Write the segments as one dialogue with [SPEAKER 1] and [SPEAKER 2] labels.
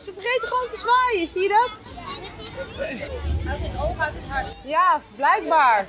[SPEAKER 1] Ze vergeten gewoon te zwaaien, zie je dat?
[SPEAKER 2] Uit het oog, uit het hart.
[SPEAKER 1] Ja, blijkbaar.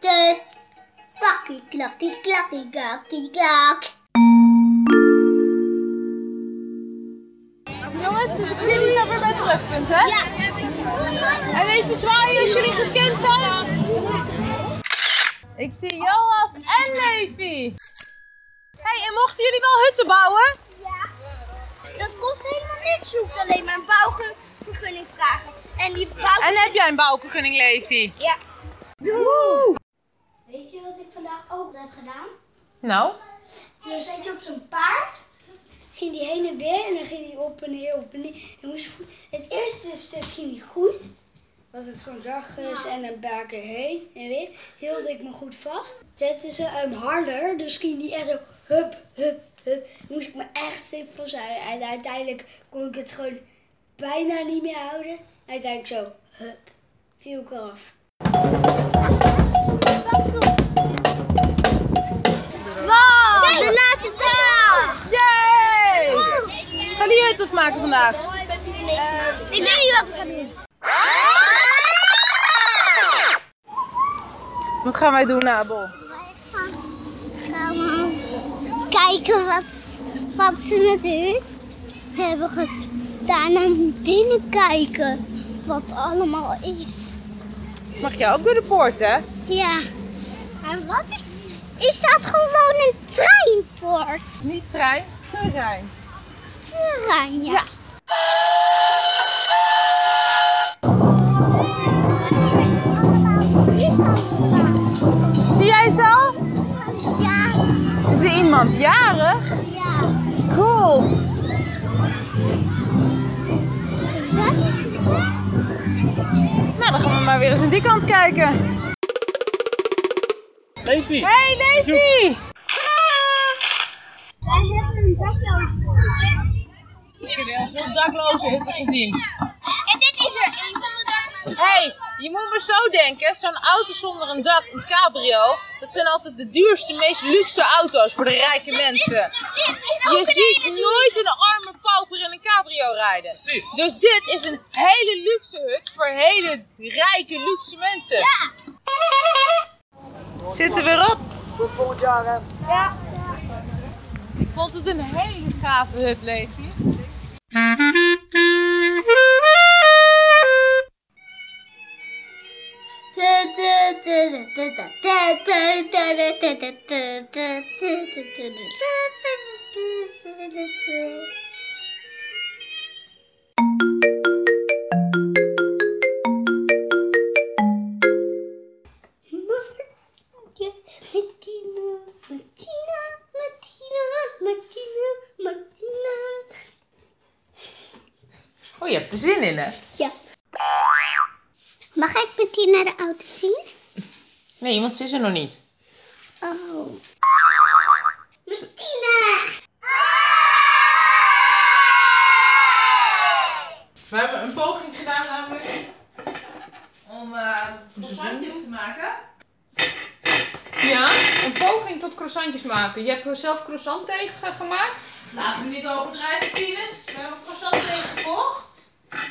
[SPEAKER 3] De klakkie, klakkie, klakkie, klakkie, klak.
[SPEAKER 1] Jongens, dus ik zie jullie zo weer bij het trefpunt, hè?
[SPEAKER 3] Ja.
[SPEAKER 1] En even zwaaien als jullie gescand zijn. Ik zie Joas en Levi. hey, en mochten jullie wel hutten bouwen?
[SPEAKER 3] Ja. Dat kost helemaal niks. Je hoeft alleen maar een bouwvergunning te vragen. En die bouw...
[SPEAKER 1] En heb jij een bouwvergunning, Levi?
[SPEAKER 3] Ja.
[SPEAKER 1] Joehoe.
[SPEAKER 3] Weet je wat ik vandaag ook heb gedaan?
[SPEAKER 1] Nou?
[SPEAKER 3] Dan zat je op zo'n paard. Ging die heen en weer en dan ging die op en neer, op en neer. En moest je voet- Het eerste stuk ging die goed.
[SPEAKER 2] Was het gewoon zachtjes en een paar keer heen en weer. Hield ik me goed vast. Zetten ze hem harder, dus ging die echt zo hup, hup, hup. Moest ik me echt stevig vasthouden. En uiteindelijk kon ik het gewoon bijna niet meer houden. Uiteindelijk zo hup, viel ik eraf.
[SPEAKER 3] Wow, de laatste dag!
[SPEAKER 1] Yay! Gaan jullie hut afmaken vandaag?
[SPEAKER 3] ik weet niet wat we gaan doen.
[SPEAKER 1] Wat gaan wij doen, Abel?
[SPEAKER 3] kijken wat, wat ze met de hut hebben gedaan en binnen kijken wat allemaal is.
[SPEAKER 1] Mag jij ook door de poort, hè?
[SPEAKER 3] Ja. Maar wat is dat gewoon een treinpoort?
[SPEAKER 1] Niet trein, terrein.
[SPEAKER 3] Trein, ja.
[SPEAKER 1] Zie jij ze al?
[SPEAKER 3] Ja,
[SPEAKER 1] Is er iemand jarig?
[SPEAKER 3] ja.
[SPEAKER 1] Cool. Nou, dan gaan we maar weer eens aan die kant kijken.
[SPEAKER 4] Levi,
[SPEAKER 1] Hey, Levi!
[SPEAKER 3] Wij
[SPEAKER 1] Ik
[SPEAKER 3] hebben een dakloze.
[SPEAKER 1] heb heel veel daklozen hutten gezien.
[SPEAKER 3] En dit is er één van de daklozen.
[SPEAKER 1] hey, je moet maar zo denken, zo'n auto zonder een dak, een cabrio, dat zijn altijd de duurste, meest luxe auto's voor de rijke mensen.
[SPEAKER 3] Dit is ook
[SPEAKER 1] Je
[SPEAKER 3] een
[SPEAKER 1] ziet
[SPEAKER 3] hele
[SPEAKER 1] nooit een arme pauper in een cabrio rijden.
[SPEAKER 4] precies.
[SPEAKER 1] Dus dit is een hele luxe hut voor hele rijke, luxe mensen. Ja. Zitten we erop?
[SPEAKER 5] Tot volgend jaar, hè?
[SPEAKER 1] Ik vond het een hele gave hut, Levi.
[SPEAKER 3] Martina, Martina, Martina, Martina, Martina.
[SPEAKER 1] Oh, je hebt er zin in, hè?
[SPEAKER 3] Ja. Mag ik met die naar de auto zien?
[SPEAKER 1] Nee, want ze is er nog niet.
[SPEAKER 3] Oh. Martina!
[SPEAKER 1] We hebben een poging gedaan namelijk om eh croissantjes te maken.
[SPEAKER 6] Ja, een poging tot croissantjes maken. Je hebt er zelf croissant tegen gemaakt?
[SPEAKER 1] Laten we niet overdrijven, Tines. We hebben croissant gekocht.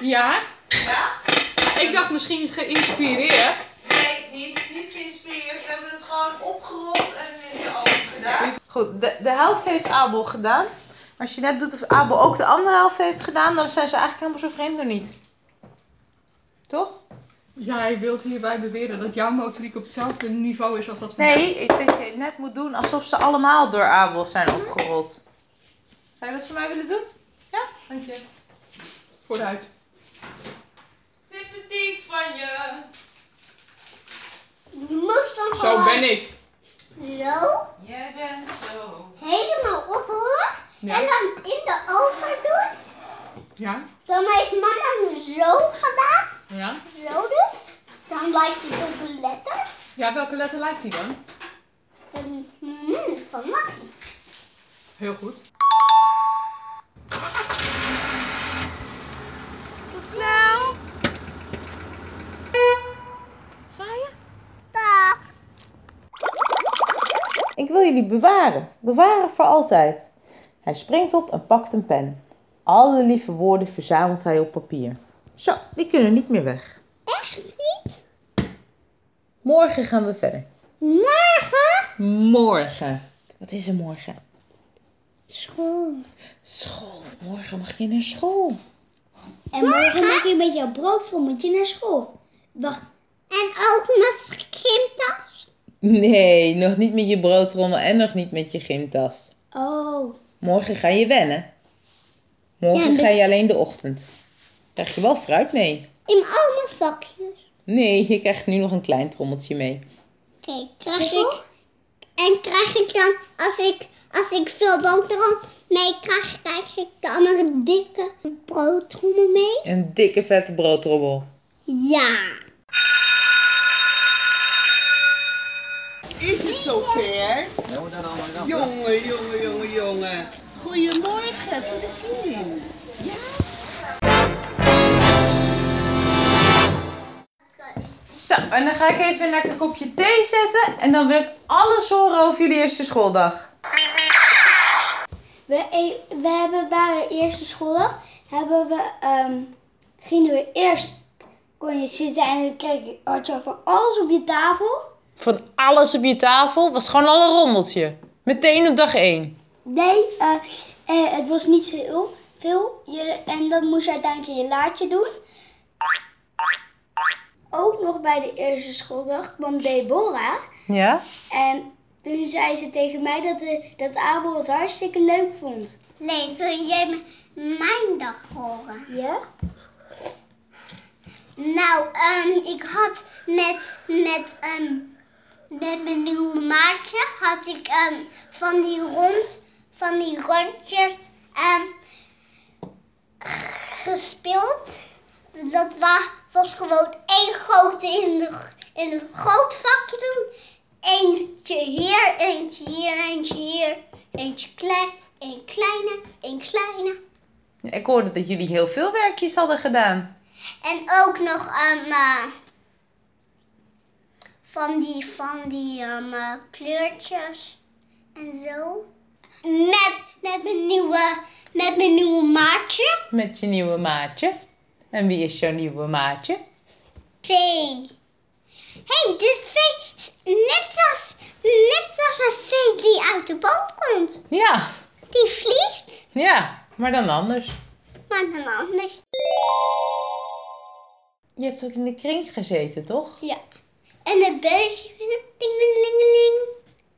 [SPEAKER 6] Ja.
[SPEAKER 1] Ja?
[SPEAKER 6] Ik dacht misschien geïnspireerd.
[SPEAKER 1] Nee, niet, niet geïnspireerd. We hebben het gewoon opgerold en in de oven gedaan. Goed, de, de helft heeft Abel gedaan. Als je net doet of Abel ook de andere helft heeft gedaan, dan zijn ze eigenlijk helemaal zo vreemd nog niet. Toch?
[SPEAKER 6] Jij wilt hierbij beweren dat jouw motoriek op hetzelfde niveau is als dat van mij.
[SPEAKER 1] Nee, ik denk dat je het net moet doen alsof ze allemaal door Abel zijn opgerold. Zou je dat voor mij willen doen? Ja, dank je.
[SPEAKER 6] Vooruit.
[SPEAKER 1] Sympathiek van je.
[SPEAKER 3] Je moest dan
[SPEAKER 6] Zo ben ik.
[SPEAKER 3] Zo,
[SPEAKER 1] Jij bent zo.
[SPEAKER 3] helemaal oprollen en
[SPEAKER 6] Ja?
[SPEAKER 3] dan in de oven doen.
[SPEAKER 6] Ja?
[SPEAKER 3] Dan heeft mama hem zo gedaan.
[SPEAKER 6] Ja?
[SPEAKER 3] Zo dus. Dan lijkt het op een letter.
[SPEAKER 6] Ja, welke letter lijkt die dan?
[SPEAKER 3] En mm, van Maxi.
[SPEAKER 6] Heel goed.
[SPEAKER 1] jullie bewaren. Bewaren voor altijd. Hij springt op en pakt een pen. Alle lieve woorden verzamelt hij op papier. Zo, die kunnen niet meer weg.
[SPEAKER 3] Echt niet?
[SPEAKER 1] Morgen gaan we verder.
[SPEAKER 3] Morgen?
[SPEAKER 1] Morgen. Wat is er morgen?
[SPEAKER 3] Schoon.
[SPEAKER 1] School. Morgen mag je naar school.
[SPEAKER 2] En morgen moet je met jouw broodrol moet je naar school. Wacht,
[SPEAKER 3] En ook met gymtas?
[SPEAKER 1] Nee, nog niet met je broodrommel en nog niet met je gymtas.
[SPEAKER 2] oh.
[SPEAKER 1] Morgen ga je wennen. Morgen
[SPEAKER 3] Ja, en
[SPEAKER 1] ga je alleen de ochtend. Krijg je wel fruit mee?
[SPEAKER 3] In al mijn zakjes.
[SPEAKER 1] Nee, je krijgt nu nog een klein trommeltje mee.
[SPEAKER 3] Oké, krijg ik... En krijg ik dan, als ik, als ik veel boterham mee krijg, krijg ik dan een dikke broodtrommel mee?
[SPEAKER 1] Een dikke vette broodrommel.
[SPEAKER 3] Ja.
[SPEAKER 4] Is het zover? Jongen, jongen, jongen, jongen. Goedemorgen voor de zin.
[SPEAKER 1] Zo, en dan ga ik even een lekker kopje thee zetten. En dan wil ik alles horen over jullie eerste schooldag.
[SPEAKER 2] We, e- we hebben bij de eerste schooldag hebben we, ehm, gingen we eerst kon je zitten en dan kreeg je, had je van alles op je tafel.
[SPEAKER 1] Van alles op je tafel was gewoon al een rommeltje. Meteen op dag 1.
[SPEAKER 2] Nee, eh, eh, het was niet veel. veel. Je, en dan moest je uiteindelijk in je laadje doen. Ook nog bij de eerste schooldag kwam Deborah.
[SPEAKER 1] Ja?
[SPEAKER 2] En toen zei ze tegen mij dat, de, dat Abel het hartstikke leuk vond.
[SPEAKER 3] Leen, wil jij m- mijn dag horen?
[SPEAKER 2] Ja?
[SPEAKER 3] Nou, ehm, ik had met, met, ehm, met mijn nieuwe maatje had ik ehm, van die rond, van die rondjes ehm, gespeeld. Dat wa- was gewoon één grote in, de, g- in een groot vakje doen. Eentje hier, eentje hier, eentje hier, eentje klein, een kleine, een kleine.
[SPEAKER 1] Ik hoorde dat jullie heel veel werkjes hadden gedaan.
[SPEAKER 3] En ook nog ehm, eh, van die, van die ehm, eh, kleurtjes en zo. Met, met, mijn nieuwe, met mijn nieuwe maatje.
[SPEAKER 1] Met je nieuwe maatje. En wie is jouw nieuwe maatje?
[SPEAKER 3] Vee. hey, dit vee is net als, net als een vee die uit de boom komt.
[SPEAKER 1] Ja,
[SPEAKER 3] Die vliegt,
[SPEAKER 1] ja, maar dan anders.
[SPEAKER 3] maar dan anders.
[SPEAKER 1] Je hebt ook in de kring gezeten, toch?
[SPEAKER 3] Ja. En een belletje, dingelingeling.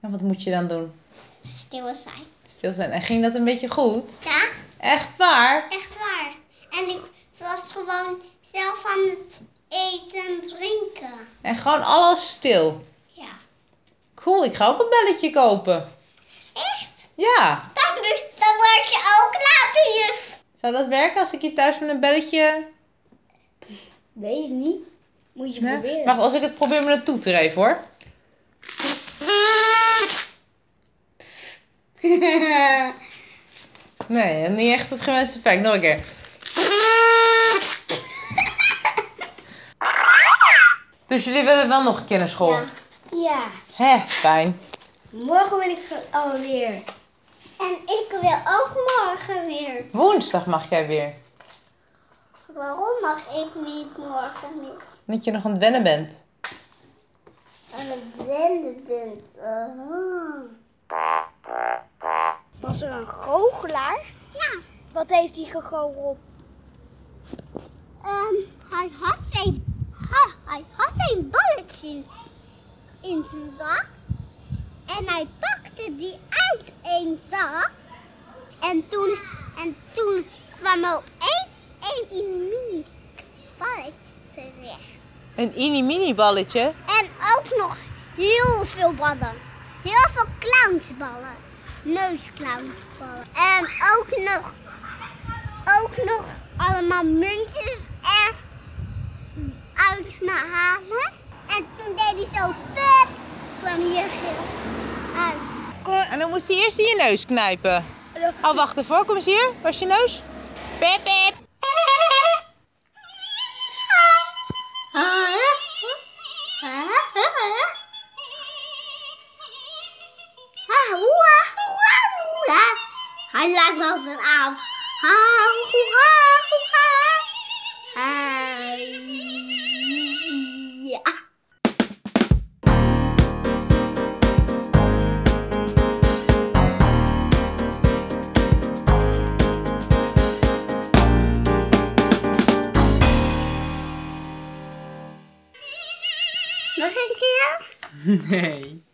[SPEAKER 1] En wat moet je dan doen?
[SPEAKER 3] Stil zijn.
[SPEAKER 1] Stil zijn. En ging dat een beetje goed?
[SPEAKER 3] Ja?
[SPEAKER 1] Echt waar?
[SPEAKER 3] Echt waar. En ik was gewoon zelf aan het eten en drinken.
[SPEAKER 1] En gewoon alles stil.
[SPEAKER 3] Ja.
[SPEAKER 1] Cool, ik ga ook een belletje kopen.
[SPEAKER 3] Echt?
[SPEAKER 1] Ja.
[SPEAKER 3] Dan, dan word je ook later juf.
[SPEAKER 1] Zou dat werken als ik hier thuis met een belletje...
[SPEAKER 2] Weet ik niet. Moet je
[SPEAKER 1] Nee?
[SPEAKER 2] proberen.
[SPEAKER 1] Wacht, als ik het probeer me naartoe te even hoor. Nee, niet echt het gewenste effect. Nog een keer. Dus jullie willen wel nog een keer naar school?
[SPEAKER 2] Ja. Ja.
[SPEAKER 1] Hè, fijn.
[SPEAKER 2] Morgen ben ik er alweer.
[SPEAKER 3] en ik wil ook morgen weer.
[SPEAKER 1] Woensdag mag jij weer.
[SPEAKER 3] Waarom mag ik niet morgen weer?
[SPEAKER 1] Omdat je nog aan het wennen bent.
[SPEAKER 3] En het blinde bent.
[SPEAKER 2] Was er een goochelaar?
[SPEAKER 3] Ja,
[SPEAKER 2] Wat heeft hij gegoocheld?
[SPEAKER 3] ehm, hij had een, ha, hij had een balletje in zijn zak. En hij pakte die uit een zak. En toen, en toen kwam er opeens een mini balletje terecht.
[SPEAKER 1] Een mini balletje.
[SPEAKER 3] En ook nog heel veel ballen. Heel veel clownsballen. Neusclownsballen. En ook nog, ook nog allemaal muntjes er uit me halen. En toen deed hij zo pep, kwam hier geel uit.
[SPEAKER 1] En dan moest hij eerst in je neus knijpen. Oh, wacht ervoor. Kom eens hier. Waar is je neus? Pip, pip.
[SPEAKER 3] Ah, Hij lijkt me altijd af. Hau, hoeha, hoeha. Eh, ja. Nog een keer?
[SPEAKER 1] Nee.